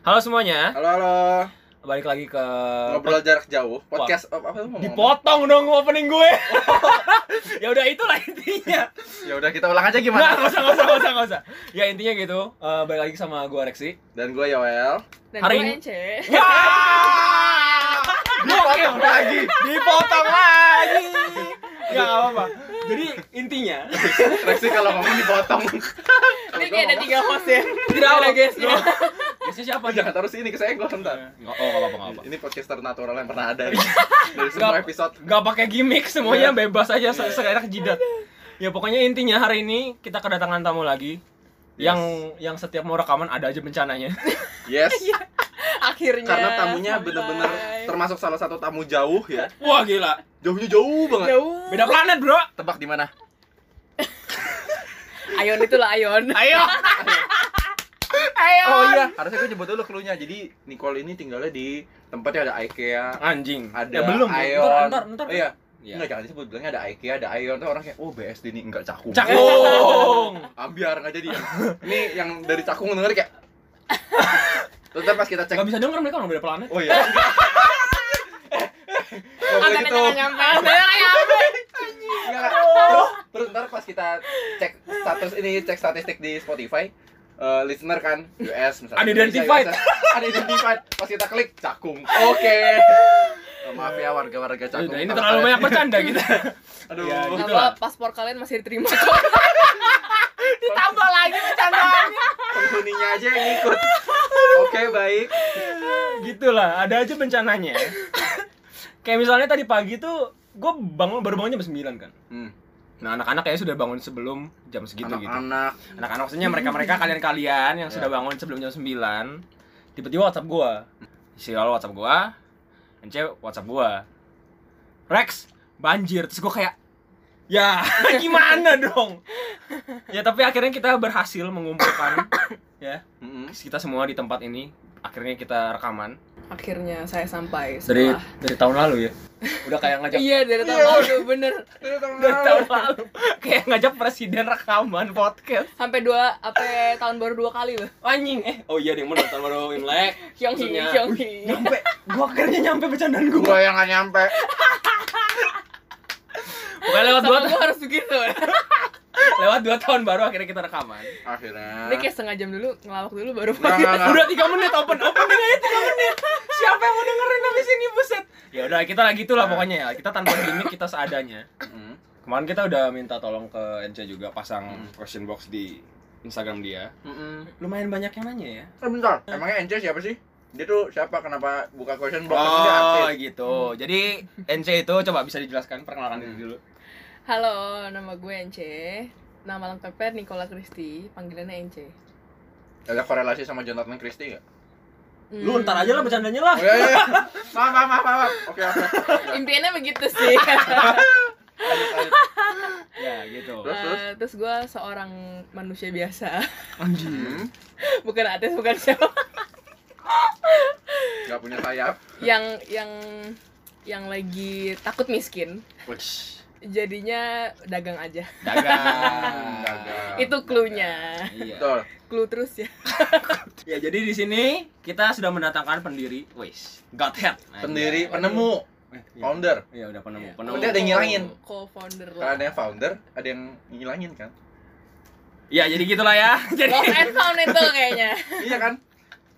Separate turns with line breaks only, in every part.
Halo semuanya,
Halo halo.
balik lagi ke
Ngobrol jarak jauh. Podcast apa apa mau ngomong?
dipotong dong opening gue. ya udah itulah intinya.
Ya udah kita ulang aja
Nah,
gimana?
nggak usah, nggak usah, nggak usah, nggak usah. Ya intinya gitu. Eh, balik lagi sama gue Rexi.
Dan gue Yoel.
Dan
Hari
gue
ini-
Ence
Dipotong lagi, dipotong lagi. Ya nggak apa-apa. Jadi intinya
Reksi kalau ngomong dipotong.
Ini kayak ada tiga host ya
tidak ada guys.
Iya.
Guysnya siapa nih?
Jangan taruh sini ke saya gue ntar.
Oh, nggak apa-apa, nggak apa-apa.
Ini podcaster natural yang pernah ada dari semua
Nggak-
episode.
Iya. Gak pakai gimmick semuanya bebas aja se- seenak jidat. Ya pokoknya intinya hari ini kita kedatangan tamu lagi
Yes.
yang yang setiap mau rekaman ada aja bencananya.
Yes.
Iya,
Akhirnya
Karena tamunya
sampai.
bener-bener termasuk salah satu tamu jauh ya.
Wah gila.
Jauhnya jauh banget.
Jauh
Beda planet, Bro.
Tebak di mana?
Ayon itulah Ayon
Ayo. Ayo.
Oh iya, harusnya gue nyebut dulu clue-nya. Jadi Nicole ini tinggalnya di tempat yang ada IKEA,
Anjing.
ada
Ya, belum. Ntar,
Aeon.
ntar, ntar.
Oh, iya.
Iya.
Enggak jangan disebut bilangnya ada IKEA, ada Aeon tuh orang kayak oh BSD nih enggak cakung.
Cakung.
Ambiar nggak jadi. ya. Ini yang dari Cakung denger kayak Terus ntar pas kita cek
Gak bisa denger mereka orang beda planet.
Oh iya. enggak. Eh, nggak boleh
Antenanya
gitu.
nggak nyampe Antenanya nggak nyampe
Enggak, enggak. Terus, terus ntar pas kita cek status ini, cek statistik di Spotify, eh, listener kan US misalnya.
Unidentified.
Indonesia, US, unidentified. Pas kita klik Cakung. Oke. Eh, maaf ya warga-warga
Ya
Cakung.
udah, ini
Maaf
terlalu
saya.
banyak bercanda gitu. kita.
Aduh.
Ya, gitu.
Apa
Itulah.
paspor kalian masih diterima kok
Ditambah lagi bercandaannya.
Penghuninya aja yang ikut. Oke, baik.
Gitulah, ada aja bencananya. Kayak misalnya tadi pagi tuh gue bangun baru bangunnya jam 9 kan.
Hmm.
Nah, anak-anak kayaknya sudah bangun sebelum jam segitu gitu.
Anak-anak
Anak-anak maksudnya mereka-mereka kalian-kalian yang
Ya.
sudah bangun sebelum jam 9 tiba-tiba WhatsApp gua. Si Lolo WhatsApp gua, Ence WhatsApp gua. Rex, banjir. Terus gua kayak ya gimana dong? Ya tapi akhirnya kita berhasil mengumpulkan ya
Mm-mm.
kita semua di tempat ini. Akhirnya kita rekaman
Akhirnya saya sampai
dari
setelah
dari tahun lalu ya. Udah kayak ngajak
Iya dari tahun
Iya.
lalu bener
dari tahun lalu kayak ngajak presiden rekaman podcast.
Sampai dua apa ya, tahun baru dua kali loh
anjing eh oh iya deh mau nonton baru imlek
Kyonghi
Maksudnya-
Kyonghi
nyampe gua akhirnya nyampe bercandaan
Gua
gua
yang gak nyampe.
pokoknya lewat dua
Sama gue harus begitu
lewat dua tahun baru akhirnya kita rekaman
Akhirnya.
Ini kayak setengah jam dulu ngelawak dulu baru
Nggak, nggak, nggak.
udah tiga menit open opening aja tiga menit siapa yang mau dengerin habis ini buset ya udah kita lagi itulah pokoknya ya kita tanpa gimmick kita seadanya
Mm.
kemarin kita udah minta tolong ke NC juga pasang
Hmm.
question box di Instagram dia
Mm-mm.
lumayan banyak yang nanya ya
Eh bentar, emangnya Angel siapa sih? Dia tuh siapa? Kenapa buka question box? Kan dia
oh
aktif.
gitu jadi NC itu coba bisa dijelaskan perkenalan diri dulu
Halo nama gue Ence Nama lengkapnya Nicola Christie Panggilannya Ence
iya.
Ada korelasi sama Jonathan Christie nggak?
Hmm.
lu ntar aja lah bercandanya lah
Oh iya, iya. Maaf, maaf, maaf, maaf. Oke, oke.
Hmm, Impiannya begitu sih
Lanjut, lanjut.
ya gitu
Terus, terus?
Eh, terus gue seorang manusia biasa
Hmm,
bukan artis bukan siapa
nggak punya sayap.
yang yang yang lagi takut miskin
Wush.
jadinya dagang aja
dagang
Dagang.
itu clue-nya
iya
Betul.
clue terus ya
ya jadi di sini kita sudah mendatangkan pendiri wis godhead Nah,
Pendiri,
iya.
penemu,
Eh, iya.
founder.
iya udah penemu
Iya.
penemu
Berarti ada yang ngilangin.
co-founder
Kalau
lah
ada yang founder, ada yang ngilangin kan?
ya jadi gitulah ya jadi
lost and found itu kayaknya
iya kan?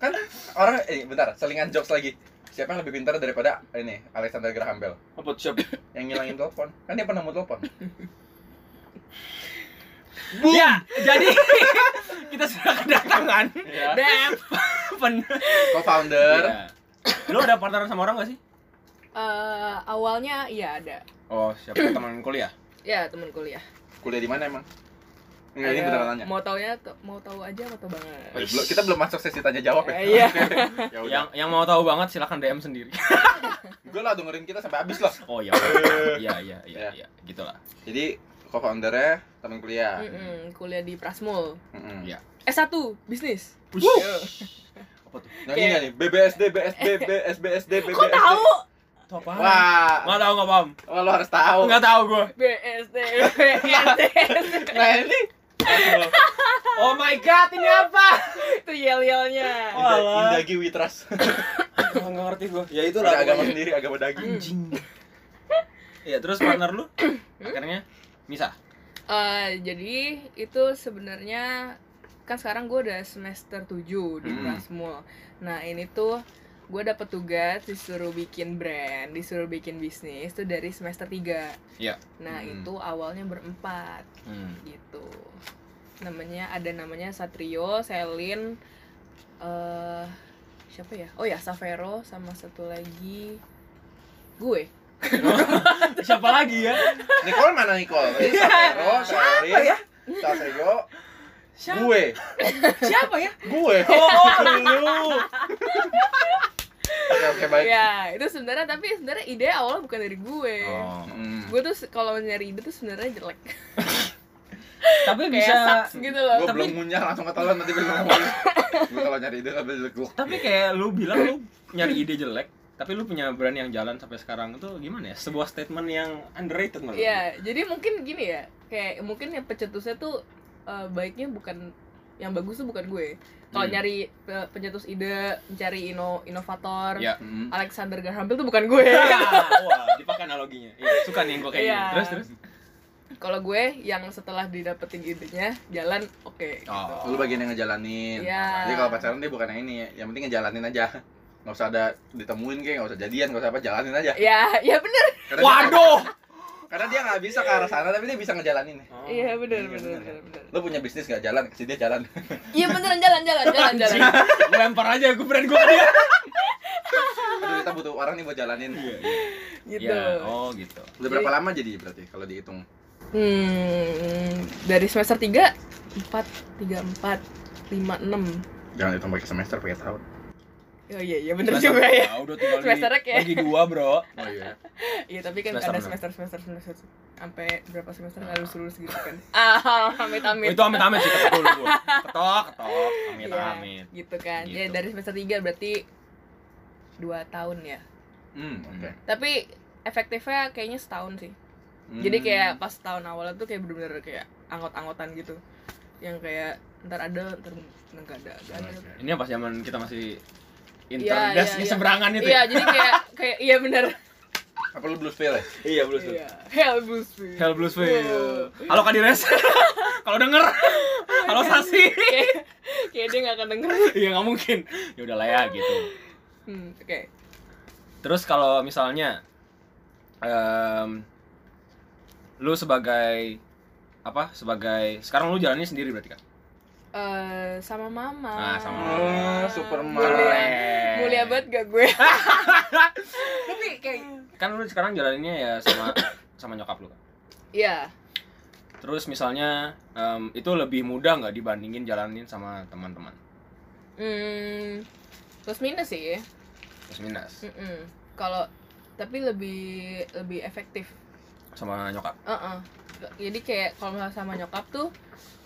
Kan orang, eh bentar, selingan jokes lagi. Siapa yang lebih pintar daripada ini, Alexander Graham Bell?
apa siap
Yang ngilangin telepon. Kan dia penemu telepon.
ya jadi kita sudah kedatangan
Iya.
damn
pen
Co-founder.
Iya. lu ada partneran sama orang gak sih
Eh, awalnya iya ada
oh siapa teman kuliah
ya temen kuliah
Kuliah di mana emang? Enggak, ini
Ada-
beneran nanya.
Iya. mau taunya tuh- mau tahu aja mau tahu banget
Eh, belum- kita belum masuk sesi tanya jawab ya.
Eh, iya.
ya udah.
yang yang mau tahu banget silahkan DM sendiri
Gue lah dengerin kita sampai habis loh.
oh iya iya iya iya iya gitulah
Jadi co-foundernya teman kuliah.
Mm-mm, kuliah di Prasmul
Mm-mm.
Iya.
S1 bisnis
Wush. apa tuh
Nyanyi nggak Nah, nih? BBSD, BSD, BSBSD, BBSD.
kok tahu
Tuh apaan?
Wah,
nggak tahu nggak paham
wah lo harus tahu.
nggak tahu gue
BSD BSD
Nah ini,
Gitu Oh my god, ini apa?
Itu yel-yelnya.
Wah.
Inda-
Alah.
Indagi Witras.
Gak ngerti gua.
ya itulah
Ada agama
pokoknya.
sendiri, agama daging.
Anjing. Iya, terus partner lu
Hmm?
akhirnya misah.
Eh, jadi itu sebenarnya kan sekarang gue udah semester 7 di
Hmm.
Prasmul. Nah, ini tuh gue dapet tugas disuruh bikin brand, disuruh bikin bisnis itu dari semester 3.
Iya.
Nah,
Hmm.
itu awalnya berempat
Hmm.
gitu. Namanya ada namanya Satrio, Selin eh siapa ya? Oh ya, Savero sama satu lagi gue.
Siapa lagi ya?
Nicole mana Nicole? Ini
Iya.
Sapero, Siapa ya? Saseyo,
Siapa?
gue.
Siapa ya?
Gue.
Oh, lu.
Oke, oke baik.
Iya.
Ya, itu sebenarnya tapi sebenarnya ide awalnya bukan dari gue.
Oh.
Hmm.
gue tuh se- kalau nyari ide tuh sebenarnya jelek
Tapi
kayak
bisa
sucks gitu loh
Gue
Tapi-
belum ngunyah langsung ketahuan nanti belum ngomong. Gue kalau nyari ide sambil gue.
tapi kayak lu bilang lu nyari ide jelek, tapi lu punya brand yang jalan sampai sekarang itu gimana ya? Sebuah statement yang underrated menurut gua.
ya jadi mungkin gini ya kayak mungkin yang pencetusnya tuh eh, baiknya bukan yang bagus tuh bukan gue kalau
Hmm.
nyari eh, pencetus ide mencari ino inovator
Iya.
Hmm.
Alexander Graham Bell tuh bukan gue
Wah, dipakai analoginya. Iya, suka nih yang gua kayak
Iya.
gini. Terus terus.
kalau gue yang setelah didapetin idenya jalan oke
Oh.
Lu bagian yang ngejalanin.
Iya.
Jadi kalau pacaran dia bukan yang ini, yang penting ngejalanin aja. Nggak usah ada ditemuin kayak nggak usah jadian, nggak usah apa, jalanin aja.
ya ya bener
Karena dia-
Waduh.
karena dia nggak bisa ke arah sana, tapi dia bisa ngejalanin.
Oh.
iya bener
iya,
bener
bener.
bener bener.
Lu punya bisnis nggak jalan, kasih dia jalan.
iya beneran jalan jalan jalan jalan
Anjing, lempar aja gue brand gue ke dia.
Aduh, kita butuh orang nih buat jalanin.
gitu
Iya, oh gitu.
Udah berapa lama jadi berarti kalau dihitung?
Hmm, dari semester 3 4 3 4 5 6.
Jangan hitung pakai semester, pakai tahun.
Oh iya iya bener juga ya.
Ah, udah tinggal
Semesternya
di,
kayak-
bagi dua, Bro.
Oh iya.
Iya tapi kan
Semester
ada
enam. ya?
semester semester semester sampai berapa semester harus lulus gitu kan. Ah, amit
Oh,
amit.
itu amit-amit sih ketok dulu gua. Ketok, ketok, amit
Iya,
amit.
gitu kan. Ya
Gitu.
dari semester 3 berarti 2 tahun ya.
Hmm, oke.
Tapi efektifnya kayaknya setahun sih.
Hmm.
Jadi
Hmm.
kayak pas tahun awalnya tuh kayak bener-bener kayak anggot-anggotan gitu. Yang kayak ntar ada, ntar enggak ada, nggak ada.
Ini pas zaman kita masih
Iya,
intern desk
iya,
di
iya.
seberangan itu.
Iya,
ya?
jadi kayak kayak iya bener
apa lu blues feel ya?
Iya, belum
Iya, Hell Blues Feel.
Hell Blues iya. Fail.
Wow.
Halo Kadires. Kalau denger.
Oh,
Halo
iya.
Sasi.
Kayak- Kayak dia gak akan denger.
Iya, nggak mungkin. Ya udahlah ya gitu.
Hmm, oke.
Terus kalau misalnya em, lu sebagai apa? Sebagai sekarang lu jalannya sendiri berarti kan?
Eh, sama
Ah,
mama.
sama
mama. Superman.
Mulia, mulia banget gak gue?
Tapi kayak kan lu sekarang jalannya ya sama sama nyokap lu. kan?
Iya.
Terus misalnya em, itu lebih mudah nggak dibandingin jalanin sama teman-teman?
Hmm, plus minus sih.
Terus minus
Mm-mm. Kalau tapi lebih lebih efektif.
sama nyokap.
Heeh. Jadi kayak kalau misalnya sama nyokap tuh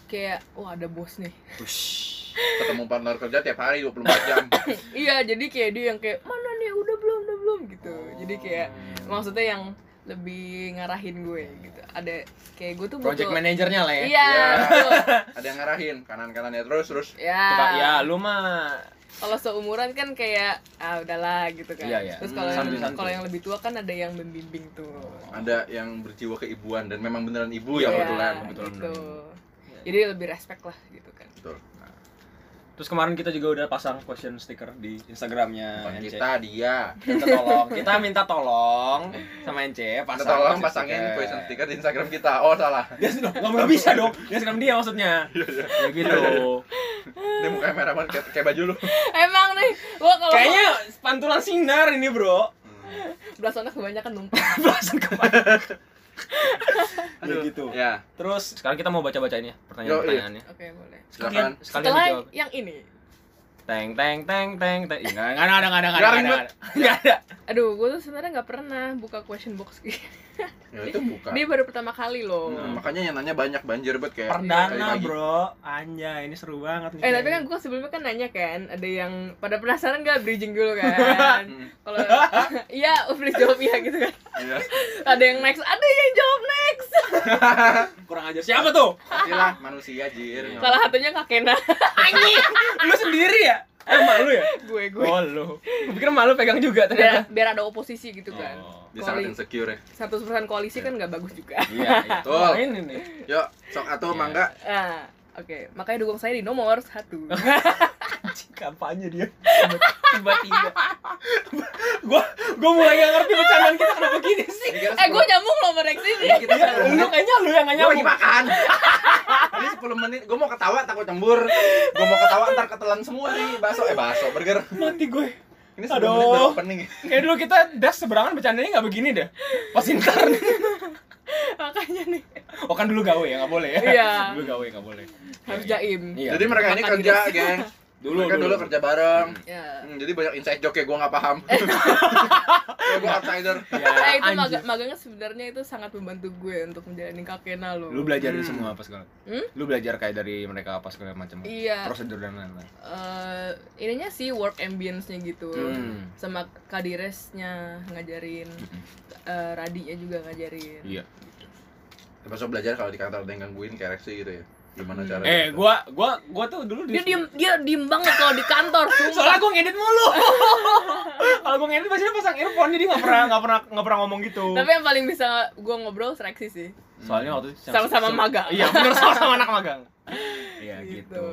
kayak wah ada bos nih.
Ush.
Ketemu partner kerja tiap hari 24 jam.
iya, jadi kayak dia yang kayak mana nih udah belum udah belum gitu. Jadi kayak maksudnya yang lebih ngarahin gue gitu ada kayak gue tuh
Project
butuh
manajernya lah ya.
iya
Iya.
betul.
Ada yang ngarahin kanan-kanannya terus terus.
ya
Coba, ya lu mah
kalau seumuran kan kayak ah udahlah gitu kan
Iya, iya.
terus kalau
Hmm,
yang
santuy-santuy.
kalau yang lebih tua kan ada yang membimbing tuh
Ada yang berjiwa keibuan dan memang beneran ibu ya
Iya,
kebetulan.
kebetulan
gitu.
Iya.
jadi lebih respect lah gitu kan
Betul.
Terus kemarin kita juga udah pasang question sticker di Instagramnya
Bukan
NC.
kita dia.
Minta tolong, kita minta tolong sama NC
Minta
pasang
tolong
question
pasangin
sticker.
question sticker di Instagram kita. Oh salah.
Dia sudah nggak bisa dong. Dia Instagram dia maksudnya.
Iya,
ya gitu.
Ini mukanya merah banget kayak, kayak baju lu.
emang nih gua kalau
Kayaknya pantulan sinar ini, Bro.
belas anak kebanyakan numpang
Belasan kemarin. ya
Aduh.
gitu. iya.
Ya.
Terus sekarang kita mau baca-bacainnya pertanyaan-pertanyaannya.
oke boleh
Sekalian, sekalian
setelah
dijawab.
yang ini
Teng teng teng teng teng. Ih, Enggak enggak ada enggak ada enggak ada.
Garing
Enggak ada. Enggak ada.
aduh gue tuh sebenarnya nggak pernah buka question box gitu
Ya itu bukan.
dia baru pertama kali loh
Hmm, makanya yang nanya banyak banjir bet kayak
Perdana,
kayak pagi.
Bro. Anjay, ini seru banget nih.
Eh tapi kan gue sebelumnya kan nanya kan, ada yang pada penasaran gak bridging dulu kan?
Hmm,
Kalau iya, please jawab iya gitu kan.
Iya.
Hmm.
Ada yang next, ada yang jawab next. kan-
Kurang ajar. Siapa tuh?
Pastilah manusia jir.
Salah satunya kakena
Lu sendiri ya? Eh, malu ya?
gue gue.
Oh, lu. Gua pikir malu pegang juga
Biar,
ternyata.
biar ada oposisi Iya. gitu kan.
Oh.
Dia sangat insecure ya.
100% koalisi kan nggak bagus juga.
Iya, itu.
Betul.
Ini nih.
Yuk, sok atau
Iya.
mangga.
Nah, oke. Makanya dukung saya di nomor satu.
Anjing, kampanye dia. Tiba-tiba. gua gua mulai gak ngerti bercandaan kita kenapa gini sih.
Ini kita
eh, gue
10
nyambung loh sama Rex
Iya.
ini.
Ini kita sepuluh
Lu
menit.
kayaknya lu yang gak
Gue lagi
nyambung.
makan. Ini 10 menit, gue mau ketawa takut nyembur. Gue mau ketawa ntar ketelan semua nih bakso eh bakso burger.
Mati gue.
Ini 10 menit
Aduh.
udah opening.
Kayak dulu kita das seberangan bercandanya gak begini deh. Pas intar.
Makanya nih.
Oh kan dulu gawe ya, gak boleh ya.
Iya.
Dulu gawe gak boleh.
Harus
Iya,
jaim.
Iya.
Jadi mereka ini
Makan
kerja,
gitu.
geng.
Dulu,
mereka dulu,
dulu.
kerja bareng.
Ya.
Hmm, jadi banyak inside joke ya gue nggak paham. Kayak gue outsider.
Ya,
Nah, itu
anjing.
maga- magangnya sebenarnya itu sangat membantu gue untuk menjalani kakena loh.
Lu belajar dari
Hmm.
semua apa segala.
Hmm?
Lu belajar kayak dari mereka apa segala macam.
Iya.
Prosedur dan lain-lain.
Eh, ininya sih work ambience-nya gitu.
Hmm.
Sama kadiresnya ngajarin,
Mm-mm.
eh, radinya juga ngajarin.
Iya.
Eh, Besok belajar kalau di kantor ada yang gangguin kayak Rexy gitu ya. Gimana
Hmm.
caranya?
Eh, gua gua gua tuh dulu di
Dia diem, dia diem banget kalau di kantor, sumpah.
Soalnya gue ngedit mulu. Kalau gue ngedit biasanya pasang earphone jadi nggak pernah nggak pernah nggak pernah ngomong gitu.
Tapi yang paling bisa gue ngobrol seleksi sih.
Soalnya waktu itu
Sama-sama magang.
Iya, bener sama-sama anak magang. Iya
Gitu.
gitu.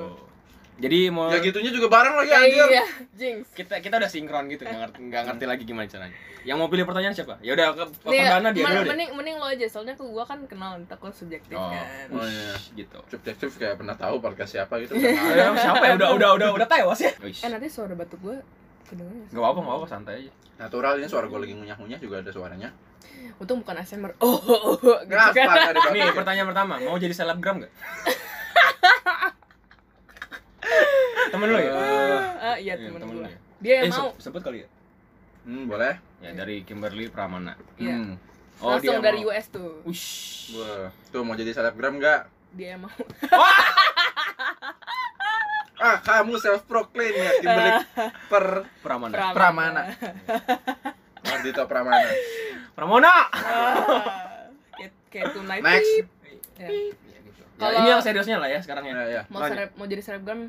Jadi mau
Ya gitunya juga bareng lagi
Ya,
anjir.
iya, jinx.
kita kita udah sinkron gitu nggak ngerti nggak ngerti lagi gimana caranya. Yang mau pilih pertanyaan siapa? Ya udah ke ke
Nih,
Perdana dia
men-
dulu deh.
mending, mending lo aja, soalnya ke gue kan kenal, ntar gue subjektif
Oh,
kan.
Oh, iya.
ush, gitu.
Subjektif kayak pernah tahu podcast siapa gitu. udah nggak ada.
Eh, siapa ya? Udah udah udah udah tewas ya.
Eh, nanti suara batuk gue kedengeran nggak sih?
Gak apa-apa, gak apa-apa, santai aja
Natural ini suara gue lagi ngunyah-ngunyah juga ada suaranya.
Untung bukan ASMR. Oh, oh, oh, oh, gitu
Kenapa
kan.
ada babi?
Nih, pertanyaan pertama, mau jadi selebgram gak? temen lu ya?
Ah, iya
Iya,
temen
temen
gue.
lu ya?
Dia
Eh,
yang mau.
se- sebut kali ya?
Hmm, boleh.
Ya, dari Kimberly Pramana Oh,
Iya.
Hmm.
Langsung dari
mau.
US tuh.
Ush.
Wah, tuh mau jadi selebgram gak?
Dia yang mau.
Ah, kamu self proclaim ya Kimberly per
Pramana
Pramana. Ardito Pramana.
Pramana! Ya,
Ah, Kayak kayak tonight.
Next.
Ya.
Ya, gitu. Ya,
Kalau-
ini yang seriusnya lah ya sekarang ya
Ya, ya.
Mau
Lanjut.
serap mau jadi selebgram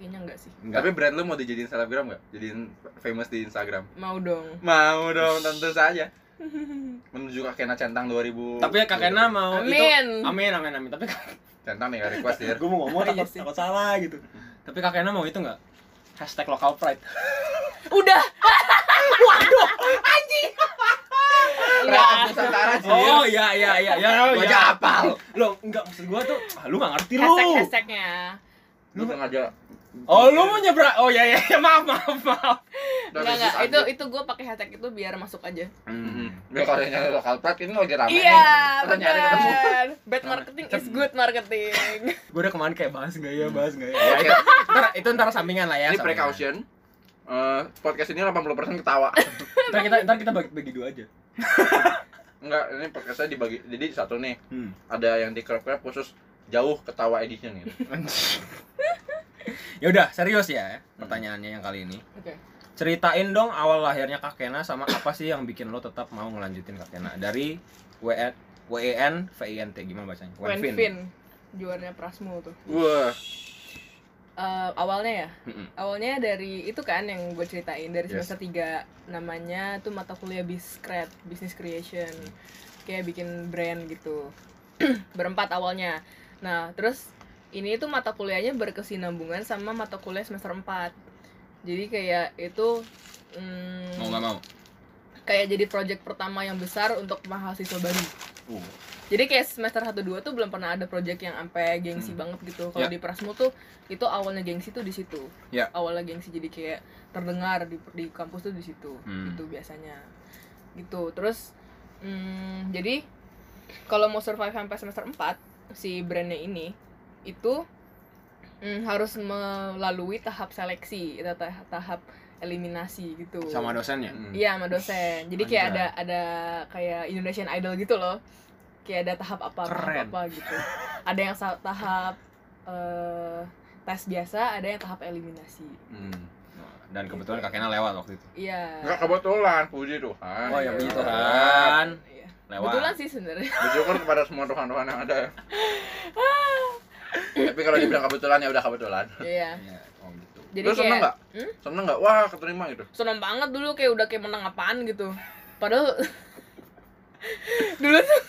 kayaknya enggak sih.
Tapi brand lu mau dijadiin selebgram gak? Jadiin famous di Instagram.
Mau dong.
Mau dong, tentu saja. Menuju Kakena Centang 2000.
tapi ya Kak Kena mau
Amin.
itu Amin, amin, amin Tapi
Centang nih nggak request ya.
gue mau ngomong
Iya
takut,
sih.
takut salah gitu Tapi Kak Kena mau itu gak? Hashtag local pride
Udah.
Waduh!
Rakyat Nusantara sih.
Oh iya, iya, iya ya,
Gua
ya.
aja apal.
Lo, enggak, maksud gue tuh ah, Lu gak ngerti lu
Hashtag hashtagnya.
Lu sengaja.
Oh lu mau nyebrak, oh iya iya iya, maaf maaf maaf
Enggak enggak. Itu itu gue pakai hashtag itu biar masuk aja.
Hmm.
Ya kalau yang nyari lokal pride ini lagi rame
Iya,
nih. Kita nyari ketemu.
benar. Bad marketing is good marketing.
Gue udah kemarin kayak bahas gak ya, bahas gak ya Ya, itu, ntar, itu ntar sampingan lah ya
Hmm. Ini
sampingan.
precaution. Eh, podcast ini 80% ketawa.
Ntar kita, ntar kita bagi, bagi dua aja
Enggak, ini podcastnya dibagi. Jadi satu nih,
Hmm.
ada yang di crop crop khusus jauh ketawa edition gitu.
ya udah serius ya pertanyaannya yang kali ini
Oke.
ceritain dong awal lahirnya Kak Kena sama apa sih yang bikin lo tetap mau ngelanjutin Kak Kena dari WN WEN VINT gimana bacanya E
E
Wenfin
Wenfin. Juaranya Prasmo tuh.
Wah,
Eh, awalnya ya
Mm-mm.
awalnya dari itu kan yang gue ceritain dari
Yes.
semester 3 namanya tuh mata kuliah biskret business creation kayak bikin brand gitu berempat awalnya nah terus ini tuh mata kuliahnya berkesinambungan sama mata kuliah semester 4 jadi kayak itu mm,
mau nggak mau
kayak jadi project pertama yang besar untuk mahasiswa baru
uh.
jadi kayak semester 1 2 tuh belum pernah ada project yang sampai gengsi
Hmm.
banget gitu.
Ya.
Kalau di Prasmo tuh itu awalnya gengsi tuh di situ.
Ya.
Awalnya gengsi jadi kayak terdengar di di kampus tuh di situ.
Hmm.
Itu biasanya. Gitu. Terus hmm, jadi kalau mau survive sampai semester 4 si brandnya ini itu hmm, harus melalui tahap seleksi, ta- ta- tahap eliminasi gitu.
sama dosennya
Hmm.
Iya sama dosen. Jadi kayak ada
Anjay.
ada kayak Indonesian Idol gitu loh. Kayak ada tahap apa
Keren.
tahap apa gitu. Ada yang sa- tahap eh, tes biasa, ada yang tahap eliminasi.
Hmm.
dan kebetulan Kak Kena lewat waktu itu
Iya.
Enggak kebetulan, puji Tuhan. Iya.
oh ya puji
begitu
Tuhan
Iya. Kebetulan
lewat
sih sebenarnya.
bersyukur kepada semua Tuhan-Tuhan yang ada tapi kalau dibilang kebetulan ya udah kebetulan
Iya.
Iya, oh gitu
Jadi
Lu seneng
kayak
nggak?
Hmm?
seneng nggak wah keterima gitu
seneng banget dulu kayak udah kayak menang apaan gitu padahal dulu tuh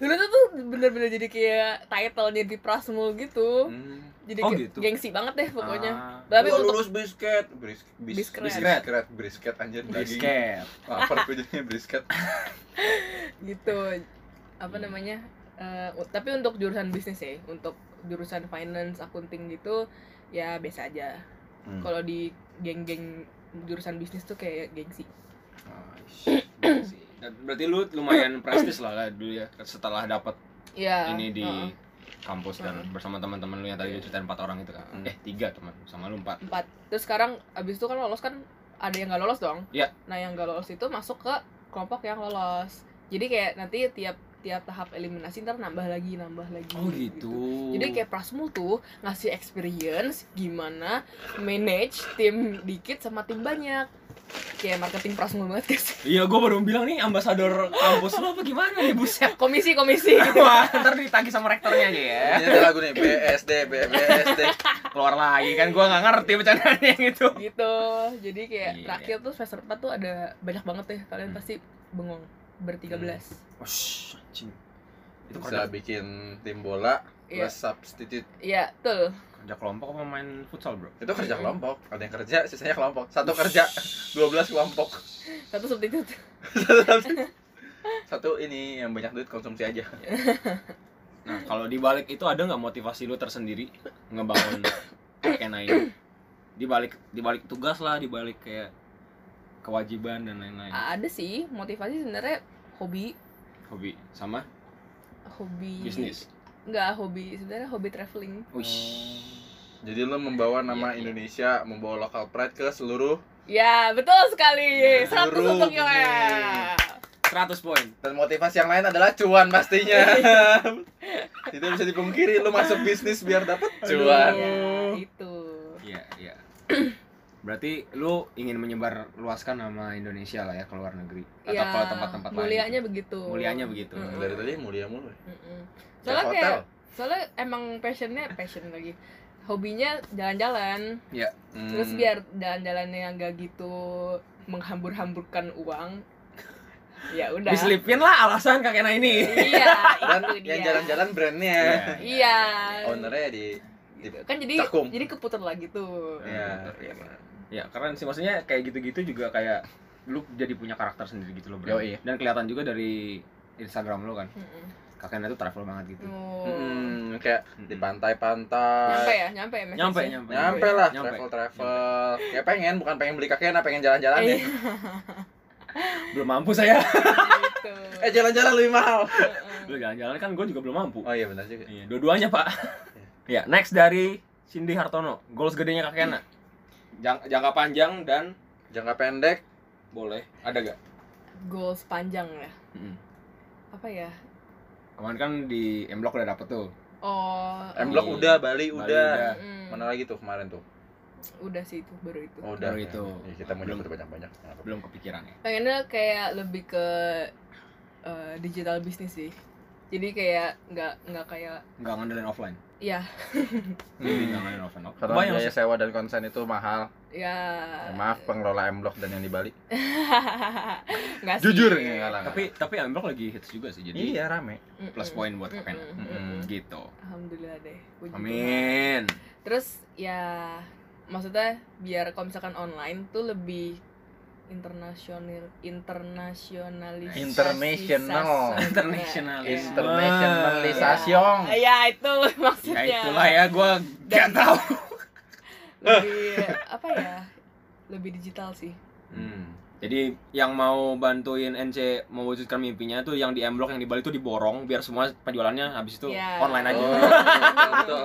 dulu tuh, tuh bener-bener jadi kayak title-nya di Prasmo gitu
hmm.
jadi
Oh,
kayak
gitu.
gengsi banget deh pokoknya
Ah,
tapi
Gua
untuk
lulus brisket bris, bis,
Biskret.
brisket brisket anjir daging
basket.
lapar gue jadinya brisket
gitu apa
Hmm.
namanya eh, u- tapi untuk jurusan bisnis ya untuk jurusan finance accounting gitu ya biasa aja
Hmm.
kalau di geng-geng jurusan bisnis tuh kayak gengsi
Ah, shit.
Sih. Dan berarti lu lumayan prestis lah, lah dulu ya setelah dapat
ya
ini di
heeh.
kampus dan bersama teman-teman lu yang tadi lu ceritain empat orang itu kan
Hmm.
eh tiga teman sama lu empat
empat terus sekarang abis itu kan lolos kan ada yang nggak lolos dong
Iya.
nah yang nggak lolos itu masuk ke kelompok yang lolos jadi kayak nanti tiap tiap tahap eliminasi ntar nambah lagi nambah lagi
oh gitu
jadi kayak Prasmul tuh ngasih experience gimana manage tim dikit sama tim banyak kayak marketing Prasmul banget guys
iya gua baru bilang nih ambasador kampus lu apa gimana nih buset
komisi komisi gitu.
wah ntar ditagih sama rektornya aja ya
ini ada lagu nih BSD BBSD
keluar lagi kan gua nggak ngerti bercandaan yang itu
gitu jadi kayak
Iya.
terakhir tuh semester 4 tuh ada banyak banget deh kalian
Hmm.
pasti bengong bertiga belas
Wush, anjing. itu
bisa
kerja
bikin tim bola
iya
plus substitute
iya tuh
kerja kelompok apa main futsal bro
itu kerja
Mm-mm.
kelompok ada yang kerja sisanya kelompok satu kerja 12 kelompok
satu substitut
Hmm.
satu ini yang banyak duit konsumsi aja
nah
Hmm.
kalau dibalik itu ada nggak motivasi lu tersendiri ngebangun kena ini dibalik dibalik tugas lah dibalik kayak kewajiban dan lain-lain
A- ada sih motivasi sebenarnya hobi
hobi sama
hobi
bisnis Oh.
nggak hobi sebenarnya hobi traveling
Wish.
jadi lo membawa nama
Iya.
Indonesia membawa local pride ke seluruh
ya betul sekali
Nah,
100
burung
untuk ya. Yoel
nih.
100 poin
dan motivasi yang lain adalah cuan pastinya tidak bisa dipungkiri lo masuk bisnis biar dapat cuan
ya, itu
iya iya berarti lu ingin menyebar luaskan nama Indonesia lah ya ke luar negeri atau
ya
ke tempat-tempat lain
mulianya
gitu.
begitu
mulianya begitu
Mm-mm.
Nah, dari tadi mulia mulu
Mm-mm.
Kayak
soalnya
hotel
kayak soalnya emang passionnya passion lagi hobinya jalan-jalan
Hmm.
terus biar jalan-jalannya nggak gitu menghambur-hamburkan uang ya udah
diselipin lah alasan kakeknya ini
iya
dan
itu
Kan yang
dia.
jalan-jalan brandnya
iya
ownernya di
Gitu. kan jadi
Cakung.
jadi keputer lagi tuh
ya,
Iya, ya keren sih maksudnya kayak gitu-gitu juga kayak lu jadi punya karakter sendiri gitu loh bro
Yoi.
dan kelihatan juga dari Instagram lu kan
Mm-mm.
kakeknya tuh travel banget gitu
Oh.
Hmm, kayak
Mm-mm.
di
nyampe
pantai-pantai
ya nyampe ya message-nya?
nyampe nyampe
nyampe lah
Nyampe.
travel travel kayak pengen bukan pengen beli kakeknya pengen jalan-jalan
Iya,
ya
belum mampu saya
gitu.
eh jalan-jalan lebih mahal
lu jalan-jalan kan gue juga belum mampu
oh iya benar juga
Iya, dua-duanya pak. ya, next dari Cindy Hartono, goals gedenya Kak Kena. Jang- jangka panjang dan
jangka pendek
boleh ada gak?
goals panjang ya apa ya
Hmm. Kemarin kan di M Block udah dapet tuh.
oh
M Block
Iya.
udah
Bali
Bali udah
udah.
mm,
mana lagi tuh kemarin tuh
udah sih itu baru itu
oh, udah
Baru itu.
Ya, kita mau
Belum.
nyebut banyak-banyak Nggak apa-apa.
Belum kepikiran ya.
pengennya kayak lebih ke eh, digital bisnis sih jadi kayak nggak nggak kayak
Nggak ngandelin offline.
Iya.
Jadi nggak ngandelin offline.
karena
Kebayang
biaya
sih.
sewa dan konsen itu mahal
ya
Ya, maaf pengelola M Block dan yang di Bali
nggak sih.
jujur ya
Tapi tapi M Block lagi hits juga sih. Jadi
iya rame
Mm-mm.
plus poin buat Kak
Mm-mm.
Kena.
Mm-mm.
Gitu.
alhamdulillah deh Puji Tuhan.
Amin.
terus ya maksudnya biar kalau misalkan online tuh lebih internasional internasionalis
International.
International.
Iya.
internationalisasi
ya itu
Ya
maksudnya
itulah ya gue gak
Dan-
tahu.
lebih apa ya lebih digital sih
Hmm.
Jadi yang mau bantuin NC mewujudkan mimpinya tuh yang di M Block yang di Bali tuh diborong biar semua penjualannya habis itu
Ya.
online aja. Iya.
Oh, betul, betul.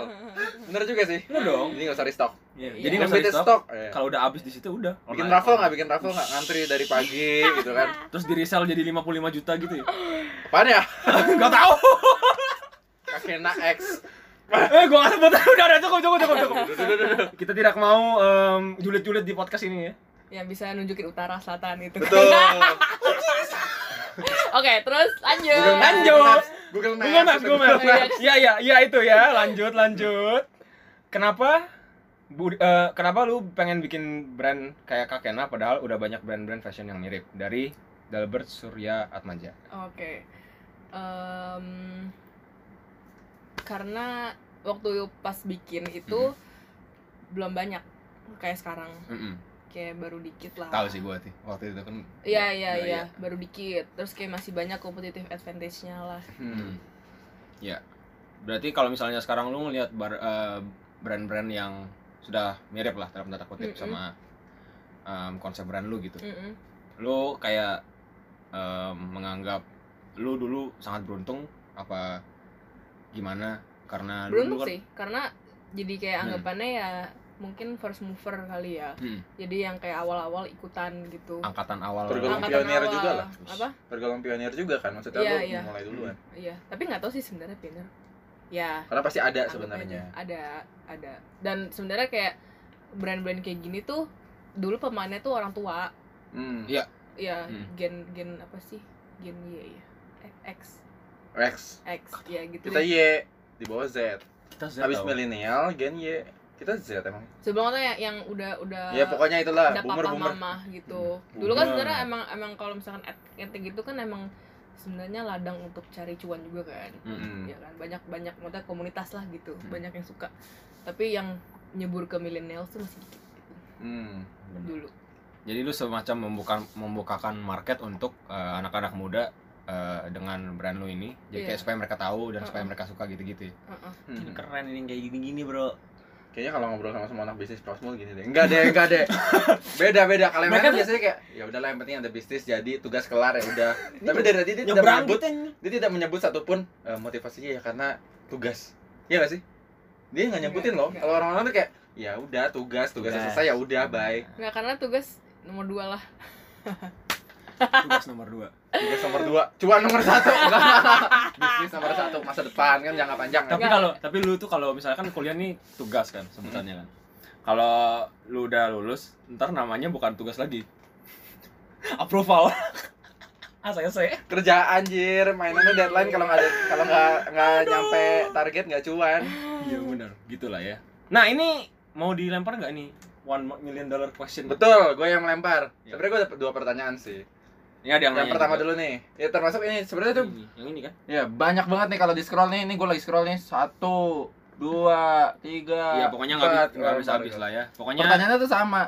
bener juga sih
Bener dong.
jadi nggak usah restock
Iya, Jadi
Yang
Iya.
nggak usah
beda
di-stop.
stok iya.
Kalau udah habis di situ udah.
bikin
online.
raffle nggak bikin raffle nggak ngantri dari pagi gitu kan
Terus di resell jadi 55 juta gitu ya.
apaan ya
Enggak tahu.
kakena X
Eh gua enggak sebut. Udah udah cukup cukup cukup cukup.
Duh, duh, duh, duh, duh.
Kita tidak mau em, julid-julid di podcast ini ya.
yang bisa nunjukin utara selatan itu
betul
terus lanjut.
Lanjut.
Google Maps, Google Maps.
Google Maps, Google Maps.
Google Maps.
Ya, ya, ya itu ya. Lanjut, lanjut. Kenapa? Bu, eh, kenapa lu pengen bikin brand kayak Kakena padahal udah banyak brand-brand fashion yang mirip dari Dalbert Surya Atmaja.
Oke. Em, karena waktu pas bikin
Hmm.
itu belum banyak kayak sekarang,
Mm-mm.
kayak baru dikit lah.
Tahu sih gua sih. Waktu itu kan.
Iya iya
Nah,
iya, baru dikit. Terus kayak masih banyak competitive advantage-nya lah.
Hmm. Ya. Berarti kalau misalnya sekarang lu ngeliat bar- eh, brand-brand yang sudah mirip lah dalam tanda kutip
Mm-mm.
sama em, konsep brand lu gitu.
Mm-mm.
Lu kayak em, menganggap lu dulu sangat beruntung apa gimana? Karena lu
Beruntung
dulu kan-
sih, karena jadi kayak
Hmm.
anggapannya ya mungkin first mover kali ya.
Hmm,
Jadi yang kayak awal-awal ikutan gitu.
angkatan awal.
Tergolong
Angkatan-
pionir juga lah.
Apa?
Tergolong pionir juga kan maksudnya
Iya,
lu
iya.
mulai duluan.
Hmm.
Iya, tapi nggak tahu sih sebenarnya pionir. Ya,
Karena pasti ada
anggap
sebenarnya.
aja. Ada, ada. Dan sebenarnya kayak brand-brand kayak gini tuh dulu pemainnya tuh orang tua.
Hmm.
Iya.
Ya,
Hmm.
gen gen apa sih? Gen Y ya. X
Rex.
X ya gitu.
Kita iya. Y di bawah Z.
Kita Z
Habis
tau.
milenial gen Y. Kita Z emang.
Sebelumnya yang yang udah udah
Ya pokoknya itulah
Eh, ada
boomer
papa
boomer.
mama gitu.
Hmm.
Dulu kan
Boomer.
sebenarnya emang emang kalau misalkan ente gitu kan emang sebenarnya ladang untuk cari cuan juga kan.
Mm-mm.
Hmm.
Ya kan banyak banyak maksudnya komunitas lah gitu,
Hmm.
banyak yang suka. Tapi yang nyebur ke milenial tuh masih dikit
Hmm.
Bener.
dulu.
Jadi lu semacam membuka membukakan market untuk eh, anak-anak muda eh, dengan brand lu ini. Jadi kayak
Iya.
supaya mereka tahu dan supaya
Uh-uh.
mereka suka gitu-gitu. ya.
Heeh.
Hmm.
Keren ini yang kayak gini-gini, Bro.
Kayaknya kalau ngobrol sama semua anak bisnis prosmul gini deh. Enggak deh, enggak deh. Beda beda kalau yang
Mereka
lain
tuh-
biasanya kayak ya udahlah yang penting ada bisnis jadi tugas kelar ya udah. Tapi dari tadi dia tidak
Nyebrang
menyebut
gitu.
dia tidak menyebut satupun eh, motivasinya ya karena tugas. Iya gak sih? Dia nggak nyebutin
Enggak,
loh. Kalau orang-orang tuh kayak ya udah tugas, tugasnya
Iya, Tugas. Iya.
selesai ya udah bye.
Nggak karena tugas nomor dua lah.
Tugas nomor 2.
Tugas nomor dua, cuan nomor satu. bisnis nomor satu masa depan kan jangka panjang.
tapi
Kan?
Enggak.
kalau tapi lu tuh kalau misalkan kuliah nih tugas kan sebutannya kan kalau lu udah lulus ntar namanya bukan tugas lagi approval ah saya saya
Kerja anjir, mainannya deadline kalau nggak ada- kalau nggak nggak nyampe target nggak cuan.
iya benar gitulah ya nah ini mau dilempar nggak nih one million dollar question
Betul, gue yang lempar.
Iya.
Sebenarnya gue dapat dua pertanyaan sih.
ini ada yang,
Yang, pertama dulu nih. Ya termasuk ini sebenarnya tuh
ini, yang ini kan
ya banyak banget nih kalau di scroll nih. Ini gue lagi scroll nih satu, dua, tiga.
Iya pokoknya nggak habis-
empat,
nggak habis
empat,
habis
empat.
lah ya pokoknya
Pertanyaannya tuh sama.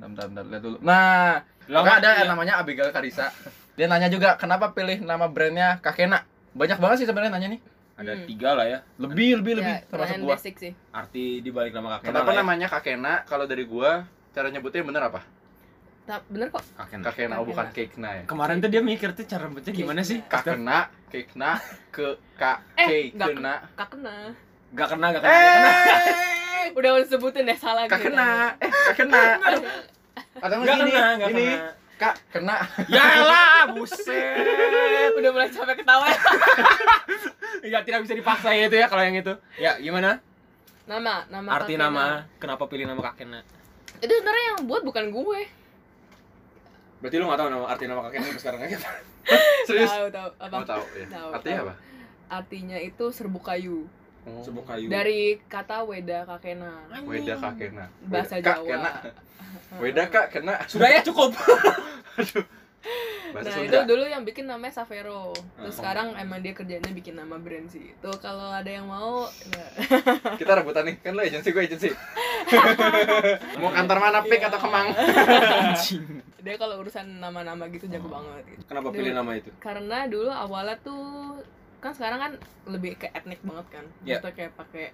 Bentar, bentar, bentar, lihat dulu. Nah,
Lah,
maka ada
iya.
yang namanya Abigail Karisa. Dia nanya juga kenapa pilih nama brandnya Kakena. Banyak banget sih sebenarnya nanya nih.
ada
Hmm.
tiga lah ya
Lebih, lebih, lebih
Ya,
termasuk
lumayan
gua.
basic sih.
arti di balik nama kakek lah
Kenapa
ya.
namanya Kakena? Kalau dari gua cara nyebutnya bener apa?
Ta- bener kok.
Kakek.
Kakena, oh
Kakena.
bukan Kekna ya.
kemarin tuh dia mikir tuh cara rambutnya gimana sih
Kakena, Kekna, ke Ka,
Eh, nggak
Kekena.
Kak kena.
Gak kena, gak kena, nggak kena.
Eh,
Udah udah sebutin deh salah
Kak
gitu.
kena, eh kak kena. Aduh. Atau
Gak
gini,
kena, gak
gini.
kena.
Kak kena.
Ya lah, buset.
Eh, Udah mulai capek ketawa.
Ya tidak bisa dipaksa ya itu ya kalau yang itu. Ya, gimana?
nama, nama.
Arti
Kak Kena.
nama, kenapa pilih nama kakeknya?
Itu sebenarnya yang buat bukan gue.
Berarti lu gak tahu nama arti nama kakeknya sampai sekarang ya? aja.
Serius?
Tahu tahu apa?
Mau tahu ya.
Tahu,
Artinya
tahu.
apa?
Artinya itu serbu kayu.
Oh.
Sebok kayu.
Dari kata Weda Kakena.
Weda kak kena. Weda
Hmm. Bahasa
kak
Jawa. Hmm.
kena. Weda kak kena.
Sudah ya cukup.
Bahasa
Nah itu
Sunda.
dulu yang bikin namanya Savero Terus
Oh.
sekarang emang dia kerjanya bikin nama brand sih Tuh kalau ada yang mau ya.
Kita rebutan nih. Kan lo agensi gue agensi. Mau kantor mana pik atau Kemang?
Anjing.
Dia kalau urusan nama-nama gitu jago
Oh.
banget gitu.
Kenapa pilih nama itu?
Karena dulu awalnya tuh Kan sekarang kan lebih ke etnik banget kan
Iya.
Maksudnya kayak pakai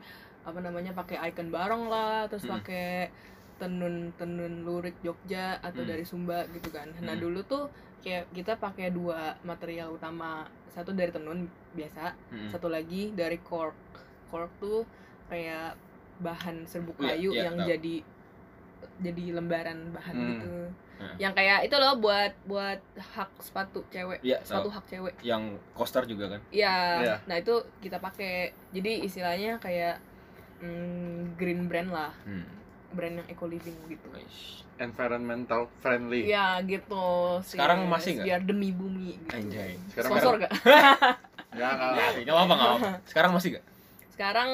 Apa namanya pakai icon barong lah Terus
Mm-mm.
pakai tenun-tenun lurik Jogja atau
Mm.
dari Sumba gitu kan. Nah,
Mm.
dulu tuh kayak kita pakai dua material utama. Satu dari tenun biasa,
Mm-mm.
satu lagi dari cork cork tuh kayak bahan serbuk
Iya,
kayu
iya,
yang
tahu.
jadi jadi lembaran bahan
Hmm.
gitu
Heeh.
yang kayak itu loh buat buat hak sepatu cewek
Iya,
sepatu
tahu.
hak cewek
Yang coaster juga kan.
ya
Iya.
nah itu
Hmm.
kita pakai jadi istilahnya kayak mm, green brand lah brand yang eco living gitu
Iya. Eish.
environmental friendly.
ya gitu sih.
Sekarang masih nggak?
biar demi bumi gitu.
Anjay.
Sekarang
sponsor gak
Enggak enggak. enggak.
Ya,
Iya.
Nggak apa-apa, nggak apa-apa. Sekarang masih nggak?
sekarang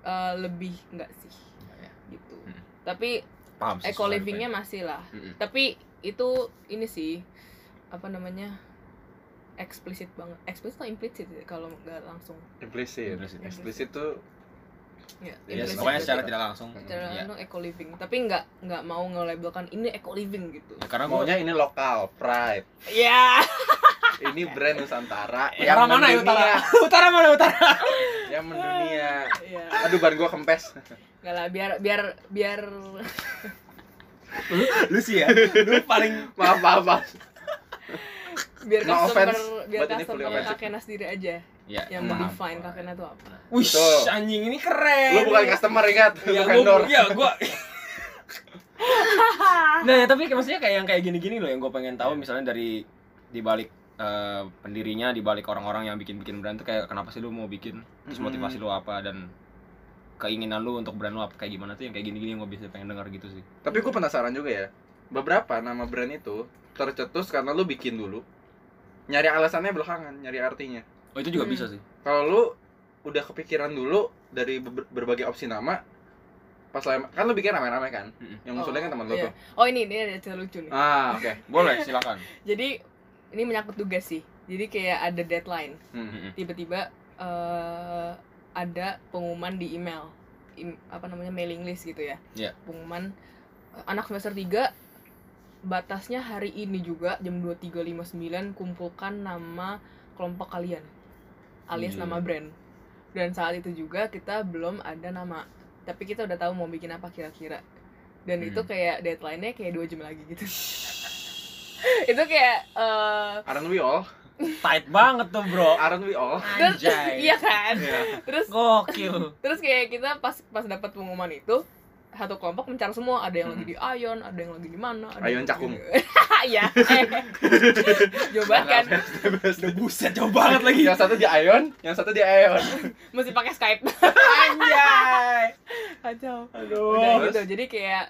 eh, lebih nggak sih gitu
Hmm.
tapi
Paham sih.
eco livingnya masih lah
Mm-mm.
tapi itu ini sih apa namanya eksplisit banget eksplisit atau implisit ya, kalau nggak langsung
Implicit.
Implicit.
Implicit tuh
ya,
Ya,
implicit
pokoknya
gitu.
secara tidak langsung.
secara
Iya.
langsung eco living tapi nggak nggak mau nge-labelkan ini eco living gitu
Ya, karena gua-
maunya ini lokal, pride.
ya
Iya. Ini brand Nusantara yang
Utara mana ya utara?
mendunia,
utara mana utara?
yang mendunia.
ya
Aduh, ban gua kempes.
nggak lah biar biar biar
Lu sih ya. Lu paling
maaf, maaf, maaf.
biar
No
customer
offense,
biar
but ini fully
customer
offensive. Hmm.
kakena sendiri aja
ya,
yang
maaf.
define kakena tuh apa
Wih,
Betul.
anjing ini keren.
Lu bukan customer ingat, lu
ya,
vendor.
gua, ya, gua. nah, ya, tapi maksudnya kayak yang kayak gini-gini loh yang gue pengen
Iya.
tahu misalnya dari di balik eh, pendirinya di balik orang-orang yang bikin-bikin brand tuh kayak kenapa sih lu mau bikin terus
Mm-mm.
motivasi lu apa dan keinginan lu untuk brand lu apa kayak gimana tuh yang kayak gini-gini yang gue bisa pengen dengar gitu sih
Tapi gue penasaran juga ya. Beberapa nama brand itu tercetus karena lu bikin dulu. Nyari alasannya belakangan, nyari artinya.
oh itu juga
Mm.
Hmm.
bisa sih
Kalau lu udah kepikiran dulu dari ber- berbagai opsi nama, pas lama, kan lu bikin rame-rame kan?
Mm-mm.
Yang musuhnya kan teman lu
iya.
tuh.
oh ini ini ada cerita lucu nih
Ah, oke.
boleh silakan
jadi ini menyangkut tugas sih jadi kayak ada deadline
Hmm.
Mm-mm.
tiba-tiba eh, ada pengumuman di email Im- apa namanya mailing list gitu ya
Iya.
pengumuman eh, anak semester 3 batasnya hari ini juga jam 23.59 kumpulkan nama kelompok kalian alias
Gila.
nama brand dan saat itu juga kita belum ada nama tapi kita udah tahu mau bikin apa kira-kira dan itu
Hmm.
kayak deadline-nya kayak dua jam lagi gitu itu kayak eh,
Aren't we all?
tight banget tuh bro
Aren't we all?
terus
anjay
iya kan
Iya.
terus
gokil
terus kayak kita pas pas dapat pengumuman itu satu kelompok mencar semua ada yang lagi di Ayon ada yang lagi di mana ada
Ayon
yang lagi
Cakung.
di- iya eh. jauh banget kan
udah buset jauh banget lagi
yang satu di Ion, yang satu di Ion.
mesti pakai Skype
anjay
kacau udah
aduh
Terus?
gitu jadi kayak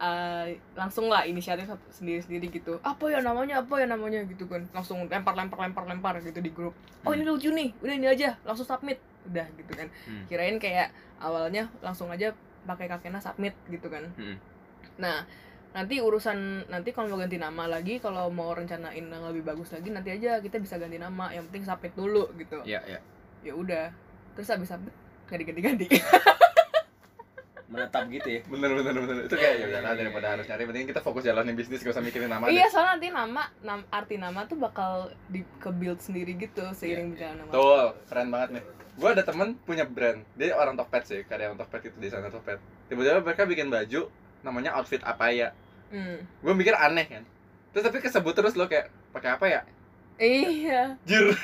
eh, langsung lah inisiatif satu- sendiri-sendiri gitu apa ya namanya apa ya namanya gitu kan langsung lempar lempar lempar lempar gitu di grup oh ini lucu nih udah ini aja langsung submit udah gitu kan
Hmm.
kirain kayak awalnya langsung aja pakai kakena submit gitu kan
Hmm.
nah nanti urusan nanti kalau mau ganti nama lagi kalau mau rencanain yang lebih bagus lagi nanti aja kita bisa ganti nama yang penting submit dulu gitu
ya ya
ya udah terus habis submit gak diganti-ganti
menetap gitu ya
Bener bener bener. Itu kayak ya udahlah daripada harus nyari, mending kita fokus jalanin bisnis, gak usah mikirin nama. deh.
Iya, soalnya nanti nama, nam, arti nama tuh bakal di ke build sendiri gitu
Iya.
seiring berjalannya waktu.
Betul, keren banget nih. Gue ada temen punya brand, dia orang Tokped sih, karyawan Tokped itu di sana Tokped. Tiba-tiba mereka bikin baju, namanya outfit apa ya?
Hmm.
Gue mikir aneh kan. Terus tapi kesebut terus lo kayak pakai apa ya?
Iya.
Jir,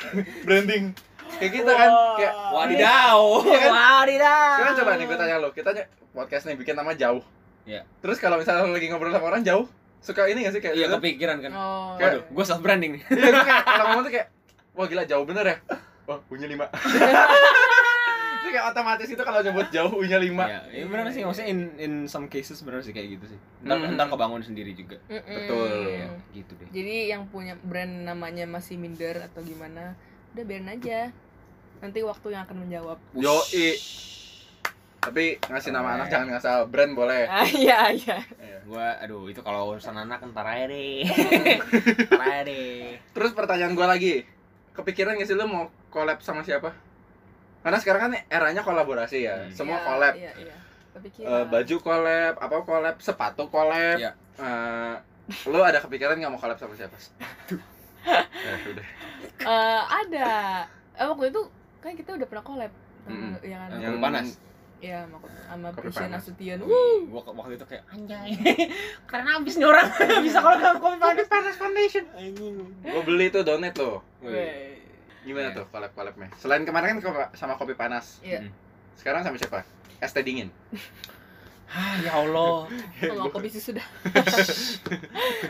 branding. Kayak gitu kan, kayak
Wadidaw.
Iya kan?
Wadidaw.
sekarang coba nih gue tanya lo, kita ny- podcast nih bikin nama jauh.
Iya.
Terus kalau misalnya lo lagi ngobrol sama orang jauh, suka ini gak sih kayak?
Iya
gitu?
kepikiran kan.
Oh.
Waduh, gue self branding nih.
Iya, gue kayak kalau ngomong tuh kayak, wah gila jauh bener ya. Wah, punya lima. Itu kayak otomatis itu kalau nyebut jauh punya lima.
Iya, ya, benar sih maksudnya in in some cases benar sih kayak gitu sih. Ntar
Hmm.
ntar kebangun sendiri juga.
Mm-mm.
Betul.
Iya, gitu deh.
Jadi yang punya brand namanya masih minder atau gimana, udah biarin aja. Nanti waktu yang akan menjawab.
Yoi. Tapi ngasih nama
Boleh.
anak jangan ngasal brand boleh.
Ah, iya, iya.
Iya.
Gua aduh itu kalau urusan anak ntar aja deh. ntar aja deh.
Terus pertanyaan gua lagi, kepikiran gak sih lu mau collab sama siapa? Karena sekarang kan eranya kolaborasi ya,
Hmm.
semua
Iya,
collab.
Iya, iya. Tapi kira.
Eh, baju collab, apa collab, sepatu collab.
Iya.
Eh, lu ada kepikiran nggak mau collab sama siapa? Eh, udah.
Eh, ada. Eh, waktu itu kan kita udah pernah collab.
Mm-mm.
Iya kan?
Yang panas.
Iya, sama- sama
Kopi
Prisha
panas.
Nasution.
Wih, Gua ke- waktu itu kayak anjay. Keren abis nih orang. Bisa kalau kamu kopi panas panas foundation. Anjing.
Gua beli tuh donate lo.
Wih.
Wih.
Gimana
Iya.
tuh collab-collabnya? Selain kemarin kan ko- sama kopi panas.
"Hmm,
Iya.
Sekarang sama siapa? Es teh dingin.
Ah, ya Allah.
Kalau aku bisnis sudah.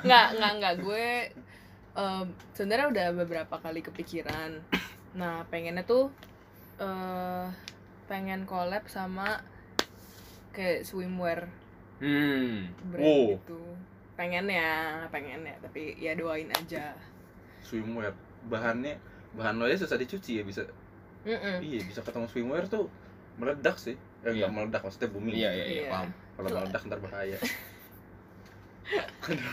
nggak, nggak, nggak. Gue em, sebenarnya udah beberapa kali kepikiran. Nah, pengennya tuh eh pengen collab sama kayak swimwear
Hmm.
brand
Wow.
gitu pengen ya pengen ya tapi ya doain aja
swimwear bahannya bahan lo susah dicuci ya bisa
Mm-mm.
iya bisa ketemu swimwear tuh meledak sih eh,
Iya.
nggak meledak maksudnya booming
Iya, iya, iya,
Iya.
paham.
kalau
Tuh.
meledak ntar bahaya Aduh.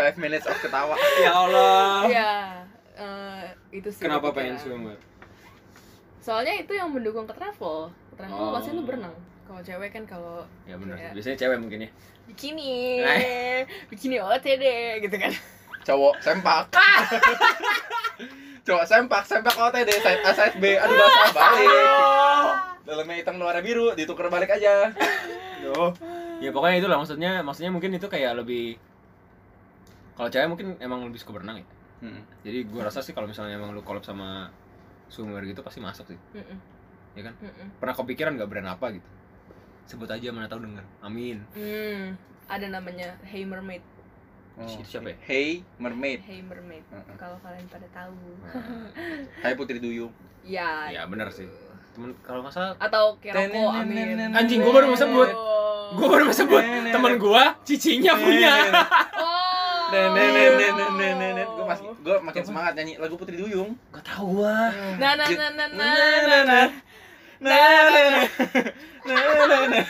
five minutes of ketawa
Ya Allah.
Iya, eh, itu sih
Kenapa
kepikiran.
pengen swimwear?
soalnya itu yang mendukung ke travel ke travel
Oh.
pasti lu berenang kalau cewek kan kalau
Ya benar.
Iya.
Biasanya cewek mungkin ya.
bikini
Nah.
bikini OTD gitu kan
cowok sempak cowok sempak sempak OTD side A side B aduh bahasa balik dalamnya hitam luarnya biru ditukar balik aja
Duh. Ya pokoknya itu lah maksudnya, maksudnya mungkin itu kayak lebih kalau cewek mungkin emang lebih suka berenang ya.
Hmm.
Jadi gua rasa sih kalau misalnya emang lu collab sama swimwear gitu pasti masuk sih.
Mm-mm.
Ya kan?
Mm-mm.
Pernah kepikiran nggak brand apa gitu? Sebut aja mana tahu denger. Amin.
Hmm, ada namanya Hey Mermaid
Itu siapa ya?
Oh. Hey Mermaid
Hey Mermaid
Heeh.
kalau kalian pada tahu
Nah,
Hai Putri Duyung
ya
ya benar sih.
gitu.
Temen kalau nggak salah
atau Keroko Amin
Anjing, gua baru mau sebut.
Gua
gua baru mau sebut temen gua cicinya Ya, punya.
Oh.
Nenenenenenenenenet. Gue masih gue makin semangat nyanyi lagu Putri Duyung.
Gak tahu gua.
Na na na na na na na.
Nenene. Nenene.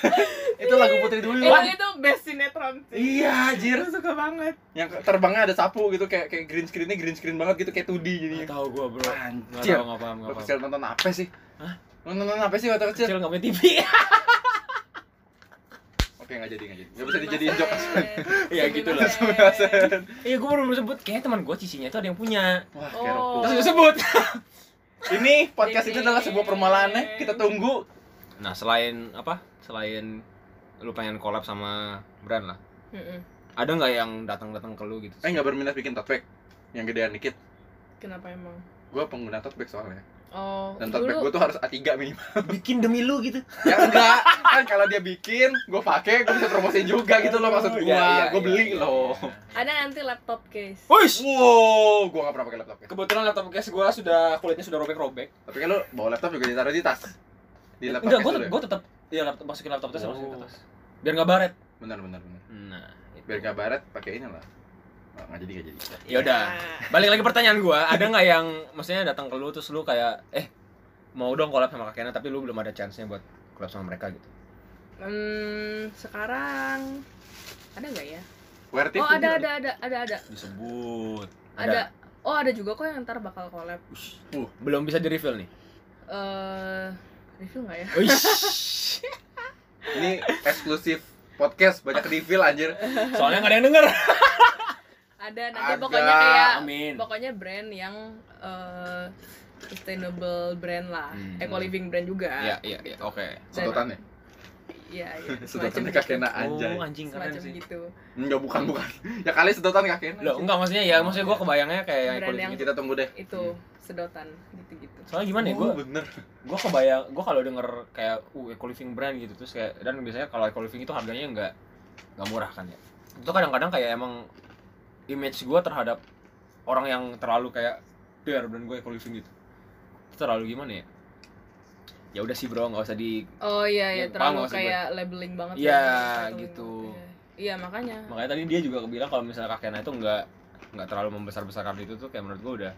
Itu lagu Putri Duyung.
Itu itu best sinetron sih.
Iya, anjir.
suka banget.
Yang terbangnya ada sapu gitu kayak kayak green screen-nya green screen banget gitu kayak 2D jadinya.
Gak tahu gua, Bro. Gak
Anjir.
tahu nggak paham,
Lo
nggak paham.
kecil nonton apa sih?
Hah?
Lo nonton apa sih waktu kecil?
Kecil nggak punya TV.
Oke, nggak jadi, nggak jadi. Nggak bisa dijadiin joke.
Ya, gitu lah. Iya, gua baru mau sebut kayaknya teman gua cicinya itu ada yang punya.
Wah,
Oh.
kerokku.
Terus gua sebut.
Ini podcast itu adalah sebuah permalaannya. Kita tunggu.
Nah, selain apa? Selain lu pengen collab sama brand lah. Ada nggak yang datang-datang ke lu gitu?
Eh, nggak berminat bikin tatwek yang gedean dikit.
Kenapa emang?
Gue pengguna tatwek soalnya.
Oh,
Dan tatwek
dulu
gue tuh harus A3 minimal.
bikin demi lu gitu.
ya enggak kan kalau dia bikin gue pakai gue bisa promosi juga gitu loh
Iya,
maksud gue gue beli loh
ada nanti laptop case.
Wush.
wow gue nggak pernah pakai laptop kan
Kebetulan laptop case gua sudah kulitnya sudah robek-robek.
tapi kan lo bawa laptop juga ditaruh di tas di laptop
Enggak,
case
gua
dulu ya?
gua tetap ya laptop masukin laptop tas
Oh.
masukin ke tas. Biar nggak baret.
benar benar benar
Nah, itu.
biar gak baret pakai ini lah Oh, nggak jadi nggak jadi
Ya udah.
Iya.
Balik lagi pertanyaan gua, ada nggak yang maksudnya datang ke lu terus lu kayak eh mau dong collab sama kakeknya tapi lu belum ada chance-nya buat collab sama mereka gitu.
Hmm, sekarang ada nggak ya?
Wear
Oh,
tipu.
ada ada ada ada ada.
Disebut.
Ada. Oh, ada juga kok yang ntar bakal collab.
Ush. Uh, belum bisa di-reveal nih.
Eh, review nggak ya?
Uish.
ini eksklusif podcast banyak reveal anjir
Soalnya nggak ada yang denger.
Ada nanti
Ada,
pokoknya kayak
amin.
pokoknya brand yang eh, sustainable brand lah,
Hmm.
Eh, eco living brand juga.
Iya, iya, iya. Oke.
sedotan ya
Iya, iya.
sedotan
semacam
kakena
gitu.
anjay
Oh, anjing keren
Semacam
sih.
gitu.
enggak bukan bukan ya kali sedotan kakena
Loh, enggak maksudnya ya, maksudnya gua kebayangnya kayak yang
Brand
kulit
yang-
gitu.
kita tunggu deh
Itu sedotan gitu-gitu.
Soalnya gimana ya gua
Oh, bener
gua kebayang gua kalau denger kayak uh eco living brand gitu terus kayak dan biasanya kalau eco living itu harganya nggak nggak murah kan ya. Itu kadang-kadang kayak emang image gua terhadap orang yang terlalu kayak biar brand gua eco living gitu. Itu terlalu gimana ya? Ya udah sih bro, nggak usah di
Oh iya iya
Yang paham
terlalu
maksud gue.
kayak labeling banget
Iya,
labeling
gitu.
banget, Iya Iya, makanya.
makanya tadi dia juga bilang kalau misalnya kakeknya itu nggak nggak terlalu membesar besarkan itu tuh kayak menurut gue udah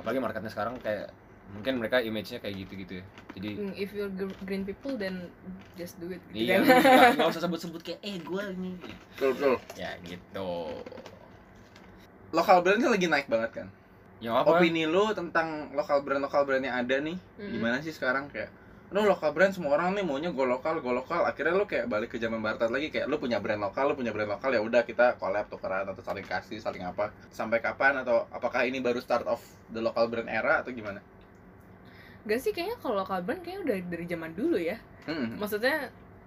apalagi marketnya sekarang kayak mungkin mereka image-nya kayak gitu gitu ya jadi
Hmm, If you're gr- green people then just do it gitu
iya
kan.
nggak- nggak usah sebut sebut kayak eh gue ini
betul betul
ya gitu
lokal brand kan lagi naik banget kan
yang Ya, apa
opini lu tentang lokal brand lokal brand yang ada nih
Mm-mm.
gimana sih sekarang kayak lu lokal brand semua orang nih maunya go lokal go lokal akhirnya lu kayak balik ke zaman barter lagi kayak lu punya brand lokal lu punya brand lokal ya udah kita collab tukeran atau saling kasih saling apa sampai kapan atau apakah ini baru start of the local brand era atau gimana
Gak sih kayaknya kalau lokal brand kayaknya udah dari zaman dulu ya.
Mm-mm.
Maksudnya
Hmm,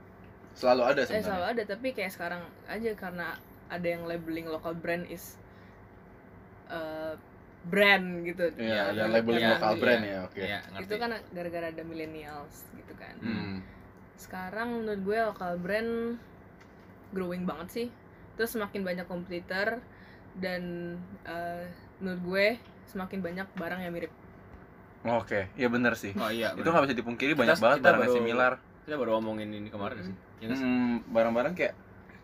selalu ada
eh selalu
sebenarnya
ada tapi kayak sekarang aja karena ada yang labeling lokal brand is eh, brand gitu.
Iya,
Iya,
ada labeling
iya,
lokal
iya.
brand ya oke
ya ngerti
Itu kan gara-gara ada millennials gitu kan.
Hmm.
sekarang menurut gue lokal brand growing banget sih terus semakin banyak kompetitor dan eh, menurut gue semakin banyak barang yang mirip
oke ya bener sih
oh iya
itu kan- nggak bisa dipungkiri banyak
Kita-
banget
kita
barangnya
baru-
similar
kita baru ngomongin ini kemarin
Mm-mm.
sih Ya, kan?
Hmm, barang-barang kayak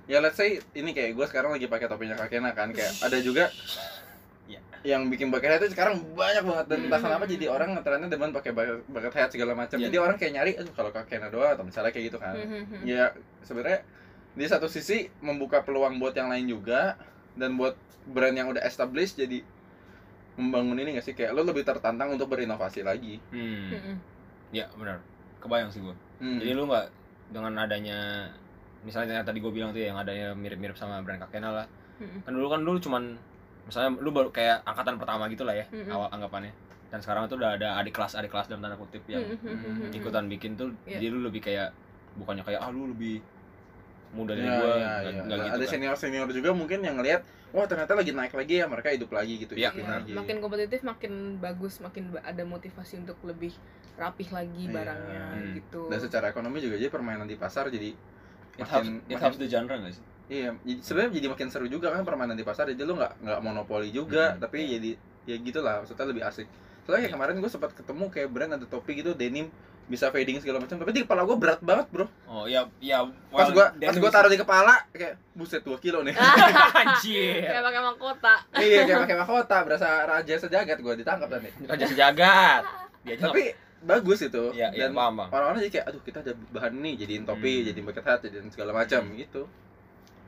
ya let's say ini kayak gue sekarang lagi pakai topinya Kakena kan kayak ada juga
Iya.
yang bikin bucket hat itu sekarang banyak banget dan entah
Hmm.
kenapa jadi orang ngetrennya demen pakai bucket, bucket hat segala macam
Iya.
jadi orang kayak nyari aduh kalau Kakena doang atau misalnya kayak gitu kan
Hmm.
Mhm.
ya sebenarnya di satu sisi membuka peluang buat yang lain juga dan buat brand yang udah established jadi membangun ini gak sih kayak lo lebih tertantang untuk berinovasi lagi
Hmm.
Mhm.
Ya benar. Kebayang sih gue.
Hmm.
Jadi lu nggak dengan adanya misalnya yang tadi gue bilang tuh ya, yang adanya mirip-mirip sama brand Kakena lah.
Mhm.
Kan dulu kan dulu cuman misalnya lu baru kayak angkatan pertama gitu lah ya
Mm-mm.
awal anggapannya. Dan sekarang tuh udah ada adik kelas adik kelas dalam tanda kutip yang
Mhm. Mhm.
ikutan bikin tuh
Iya.
jadi lu lebih kayak bukannya kayak ah lu lebih muda dari
Ya,
gua
ya,
nggak-
ya.
nggak
Dan ada
gitu kan.
senior senior juga mungkin yang ngelihat wah ternyata lagi naik lagi ya mereka hidup lagi gitu
Iya,
ikutin
benar.
lagi.
makin kompetitif makin bagus makin ba- ada motivasi untuk lebih rapih lagi
Iya.
barangnya
Hmm.
gitu
dan secara ekonomi juga jadi permainan di pasar jadi
It helps,
makin,
it
makin-
helps the genre nggak sih?
iya jadi- sebenarnya jadi makin seru juga kan permainan di pasar jadi lu nggak nggak monopoli juga
Mhm.
tapi jadi ya gitulah maksudnya lebih asik soalnya
Iya.
kayak kemarin gue sempat ketemu kayak brand ada topi gitu denim bisa fading segala macam tapi di kepala gue berat banget bro
Oh ya ya
pas
well,
gue
then
pas gue
we-
taruh di kepala kayak buset 2 kilo nih
anjir.
kayak pakai mahkota
iya kayak pakai mahkota berasa raja sejagat gue ditangkap tadi
Raja sejagat. Dia aja
tapi bagus itu
nggak- ya, ya,
dan
paham, Bang.
orang-orang jadi kayak aduh kita ada bahan nih jadiin topi
Hmm.
jadiin bucket hat jadiin segala macam
Hmm.
gitu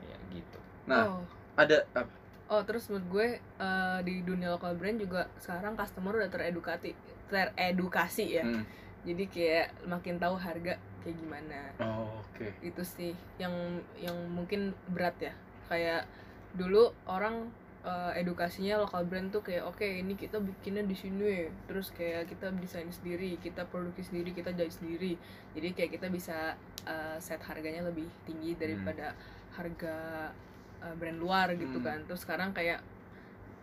Ya gitu.
nah
oh.
ada apa
Oh, terus menurut gue eh, di dunia local brand juga sekarang customer udah teredukasi teredukasi ya
hmm.
jadi kayak makin tahu harga kayak gimana
oh, oke
itu sih yang yang mungkin berat ya kayak dulu orang eh, edukasinya lokal brand tuh kayak oke ini kita bikinnya di sini terus kayak kita desain sendiri kita produksi sendiri kita jahit sendiri jadi kayak kita bisa eh, set harganya lebih tinggi daripada harga eh, brand luar
Hmm.
gitu kan terus sekarang kayak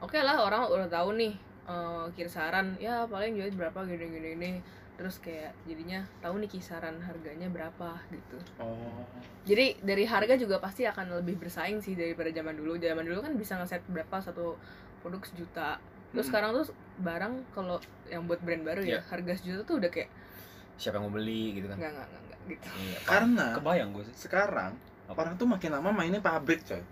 oke lah orang udah tahu nih eh, kisaran ya paling jahit berapa gini gini gini terus kayak jadinya tahu nih kisaran harganya berapa gitu
oh
jadi dari harga juga pasti akan lebih bersaing sih daripada zaman dulu zaman dulu kan bisa ngeset berapa satu produk sejuta terus
Hmm.
Mm-mm.
sekarang tuh barang kalau yang buat brand baru ya harga sejuta tuh udah kayak
Siapa yang mau beli gitu kan?
nggak nggak nggak nggak gitu
Iya, paham.
karena
kebayang gue sih.
sekarang
Apa?
orang tuh makin lama mainnya pabrik coy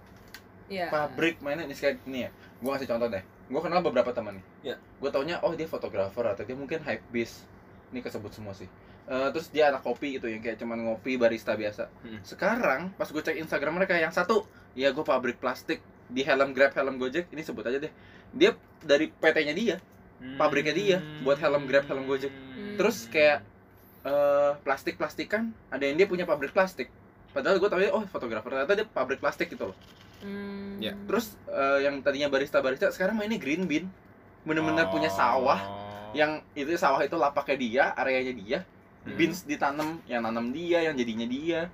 ya
pabrik mainnya ini kayak nih ya gue kasih contoh deh gue kenal beberapa teman nih
Iya.
gue taunya oh dia fotografer atau dia mungkin hypebeast ini kesebut semua sih Eh, terus dia anak kopi gitu yang kayak cuman ngopi barista biasa
Mm.
sekarang pas gue cek instagram mereka yang satu ya gue pabrik plastik di helm grab helm gojek ini sebut aja deh dia dari PT-nya dia
Hmm.
pabriknya dia, buat helm Grab, helm Gojek. Terus kayak, plastik plastikan eh, ada yang dia punya pabrik plastik padahal gue taunya oh fotografer ternyata dia pabrik plastik gitu loh
Hmm.
Ya.
Terus eh, yang tadinya barista-barista sekarang mainnya green bean.
Oh.
Bener-bener punya sawah yang itu sawah itu lapaknya dia, areanya dia,
Hmm.
beans ditanam, yang nanam dia, yang jadinya dia.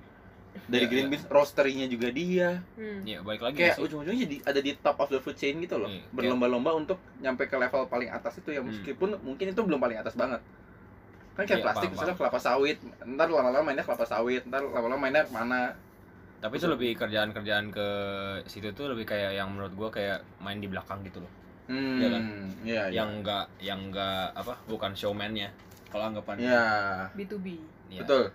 Dari
Iya,
green
iya.
beans roasterinya juga dia.
Hmm.
ya balik lagi
Kayak
sih.
ujung-ujungnya jadi ada di top of the food chain gitu loh.
Iya, kayak-
Berlomba-lomba untuk nyampe ke level paling atas itu ya
Hmm.
meskipun mungkin itu belum paling atas banget. Kan
Iya,
kayak plastik
paham,
misalnya kelapa sawit, ntar lama-lama mainnya kelapa sawit, ntar lama-lama mainnya mana.
tapi itu lebih kerjaan-kerjaan ke situ tuh lebih kayak yang menurut gue kayak main di belakang gitu loh
Hmm,
Iya kan?
iya, iya.
yang enggak yang enggak apa bukan showman-nya kalau anggapan
Iya,
B2B.
Ya,
betul.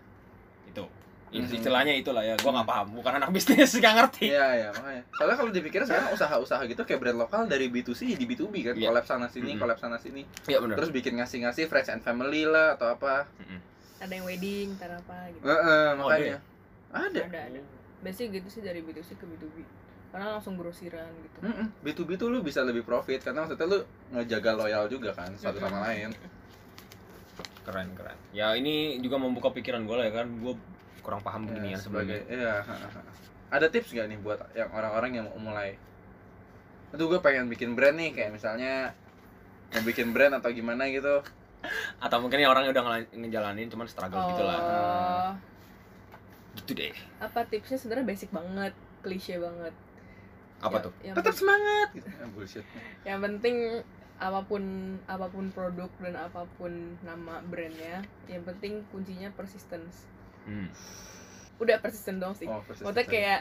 itu Itu
Mhm.
istilahnya itulah ya gue nggak paham bukan anak bisnis nggak ngerti
Iya iya makanya. Soalnya kalau dipikir sekarang usaha-usaha gitu kayak brand lokal dari B2C jadi B2B kan,
Iya.
collab sana sini,
Mm-mm.
collab sana sini.
iya benar
Terus bikin ngasih-ngasih friends and family lah atau apa.
Hmm.
Ada yang wedding, ntar apa gitu.
Heeh,
Oh, ada ya?
makanya. Ada.
Ada ada. Biasanya gitu sih dari B2C ke B2B. Karena langsung grosiran gitu.
Hmm,
Mm-mm. B2B tuh lu bisa lebih profit karena maksudnya lu ngejaga loyal juga kan satu
Hmm.
sama lain.
keren keren ya ini juga membuka pikiran gue lah ya kan gue kurang paham
Ya,
beginian
sebagai
sebagai
iya. Ada tips gak nih buat yang orang-orang yang mau mulai? Aduh gue pengen bikin brand nih kayak misalnya mau bikin brand atau gimana gitu.
atau mungkin yang orang udah ngela- ngejalanin cuman struggle gitu lah
Oh,
gitu deh
apa tipsnya sebenarnya basic banget, klise banget.
apa
Ya-
tuh
yang
Tetap semangat gitu. Ah, bullshit.
yang penting apapun apapun produk dan apapun nama brandnya yang penting kuncinya persistence
Hmm.
udah persisten dong sih
Oh, persis.
maksudnya kayak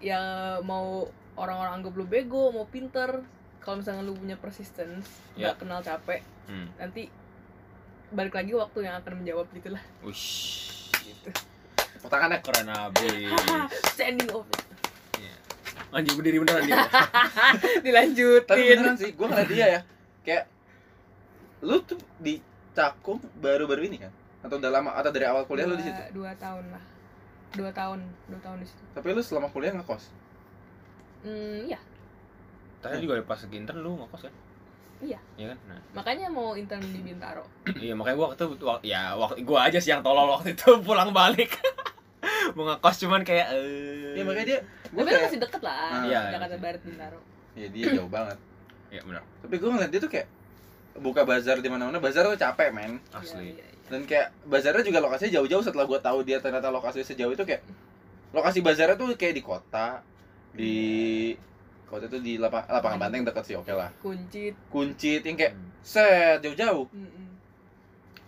ya mau orang-orang anggap lu bego mau pinter kalau misalnya lu punya persistence
Ya.
nggak kenal capek
Hmm.
nanti balik lagi waktu yang akan menjawab gitulah
Ush.
gitu
Tepuk tangan deh.
keren abis
Iya,
standing ovation
Iya. anjing berdiri beneran dia
Tapi
dilanjutin
beneran sih, gue ngeliat dia ya. Kayak lu tuh di Cakung baru-baru ini kan? Atau udah lama atau dari awal kuliah lu di situ?
Dua- dua tahun lah dua tahun dua tahun di situ
Tapi lu selama kuliah ngekos.
hmm iya
tadi juga pas lagi intern lu ngekos kan
Iya.
iya kan nah,
makanya mau intern di Bintaro
iya makanya gua waktu itu ya waktu gua aja sih yang tolol waktu itu pulang balik mau ngekos cuman kayak eh
Iya makanya dia gue
tapi lu
kayak Ah.
masih deket lah
Iya,
Jakarta
iya.
Barat Bintaro
ya dia jauh banget.
iya bener
Tapi gue ngeliat dia tuh kayak buka bazar di mana-mana, bazar tuh capek, men.
asli
Iya, iya, iya.
Dan kayak bazarnya juga lokasinya jauh-jauh setelah gue tahu dia ternyata lokasi sejauh itu kayak lokasi bazarnya tuh kayak di kota, di kota tuh di lapa- lapangan banteng dekat sih oke lah.
kuncit
Kuncit yang kayak set jauh-jauh.
mm-mm.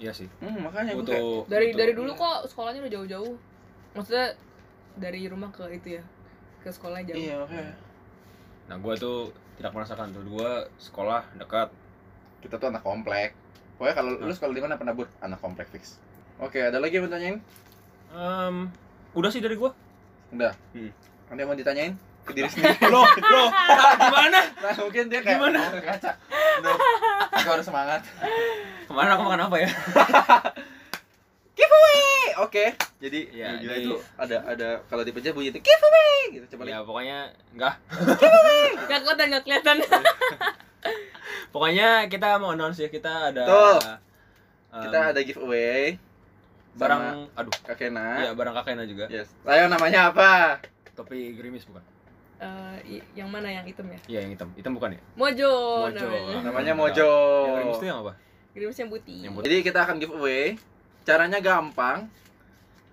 iya sih
Hmm, makanya gue kayak
butuh
dari
butuh-
dari dulu kok sekolahnya udah jauh-jauh maksudnya dari rumah ke itu ya ke sekolah jauh
iya makanya
nah gua tuh tidak merasakan tuh gua sekolah dekat
kita tuh anak komplek. Pokoknya kalau lu sekolah di mana pernah bur anak komplek fix. Oke, ada lagi yang mau ditanyain?
Em, udah sih dari gua
Hmm. Ada yang mau ditanyain? Ke diri sendiri.
loh loh gimana
Nah, mungkin dia kayak
Gimana?
mau ke kaca. Duh, aku harus semangat.
kemarin aku makan apa ya
Eh, Oke, jadi
Iya,
ya, gila
jadi-
itu ada ada kalau dipencet bunyi itu giveaway gitu coba lihat.
ya pokoknya enggak
nggak kelihatan nggak kelihatan
Pokoknya kita mau announce ya kita ada
Betul.
um,
Kita ada
barang
giveaway Iya. barang Iya.
aduh
Kakena.
ya barang kakeknya juga
Yes. Layo namanya apa?
topi gerimis bukan
Eh, i- yang mana yang hitam ya
iya yang hitam hitam bukan ya
mojo,
Mojo.
namanya
Namanya
Enggak.
Mojo.
yang gerimis itu yang apa
gerimis yang putih
Yang
Jadi kita akan giveaway. Caranya gampang.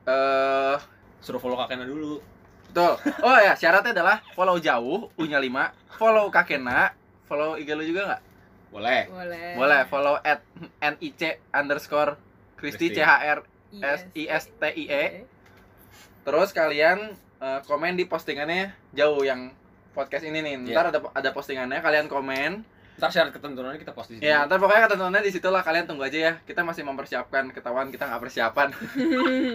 Eh,
suruh follow kakeknya dulu
betul. Oh ya, syaratnya adalah follow jauh, punya 5, follow Kakena, follow IG lu juga nggak?
boleh
boleh
Boleh, follow at NIC underscore Kristi
Kristi.
CHR
Yes.
S I S T I E.
Oke.
Terus kalian eh, komen di postingannya jauh yang podcast ini nih.
Iya.
Ntar ada ada postingannya, kalian komen.
ntar syarat ketentuannya kita post di sini
Ya, ntar pokoknya ketentuannya di situ lah kalian tunggu aja ya. Kita masih mempersiapkan, ketahuan kita nggak persiapan.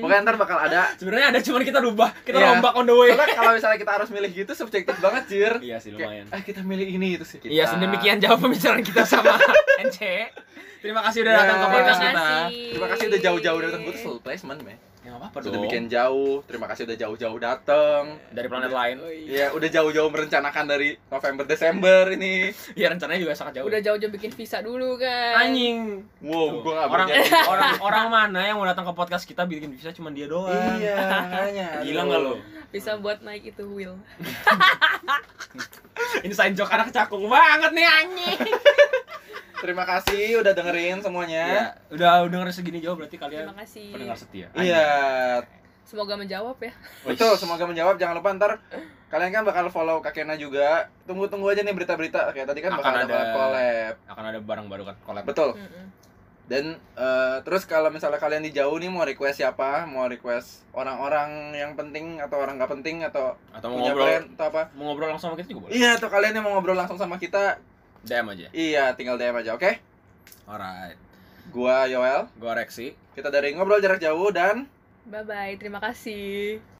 pokoknya ntar bakal ada.
sebenarnya ada cuman kita rubah kita
Iya.
rombak on the way
Soalnya kalau misalnya kita harus milih gitu subjektif banget, Jir.
iya sih lumayan
Ah, kita milih ini itu sih.
iya sedemikian jauh pembicaraan kita sama NC terima kasih udah
Ya.
datang ke podcast
Terima
kita
kasih.
Terima kasih udah jauh-jauh datang. Gue tuh selalu placement, men.
ya apa apa dong
Sedemikian jauh. Terima kasih udah jauh-jauh datang.
dari planet lain
Iya, udah jauh-jauh merencanakan dari November Desember ini.
ya rencananya juga sangat jauh
udah jauh-jauh bikin visa dulu kan
anjing
Wow, gue Oh, nggak
orang
berjaya.
orang orang mana yang mau datang ke podcast kita bikin bisa cuma dia doang
Iya, makanya.
Gila nggak lo?
bisa buat naik itu wheel
Inside joke anak cakung banget nih anjing.
Terima kasih udah dengerin semuanya.
Ya, udah udah dengerin segini jauh berarti kalian
terima kasih
Iya. pendengar setia.
Iya.
semoga menjawab ya
Betul, semoga menjawab. Jangan lupa ntar kalian kan bakal follow Kakena juga. Tunggu-tunggu aja nih berita-berita. Kayak tadi kan
Akan
bakal ada,
ada-
collab collab.
akan ada barang baru kan collab.
Betul.
Mm-mm.
Dan eh, terus kalau misalnya kalian di jauh nih mau request siapa? Mau request orang-orang yang penting atau orang nggak penting atau
Atau mau
punya
ngobrol
brand atau apa?
mau ngobrol langsung sama kita juga boleh.
Iya, atau kalian yang mau ngobrol langsung sama kita,
DM aja.
iya tinggal DM aja, oke?
Alright.
Gua Yoel,
Gua Rexi.
kita dari ngobrol jarak jauh dan
bye bye terima kasih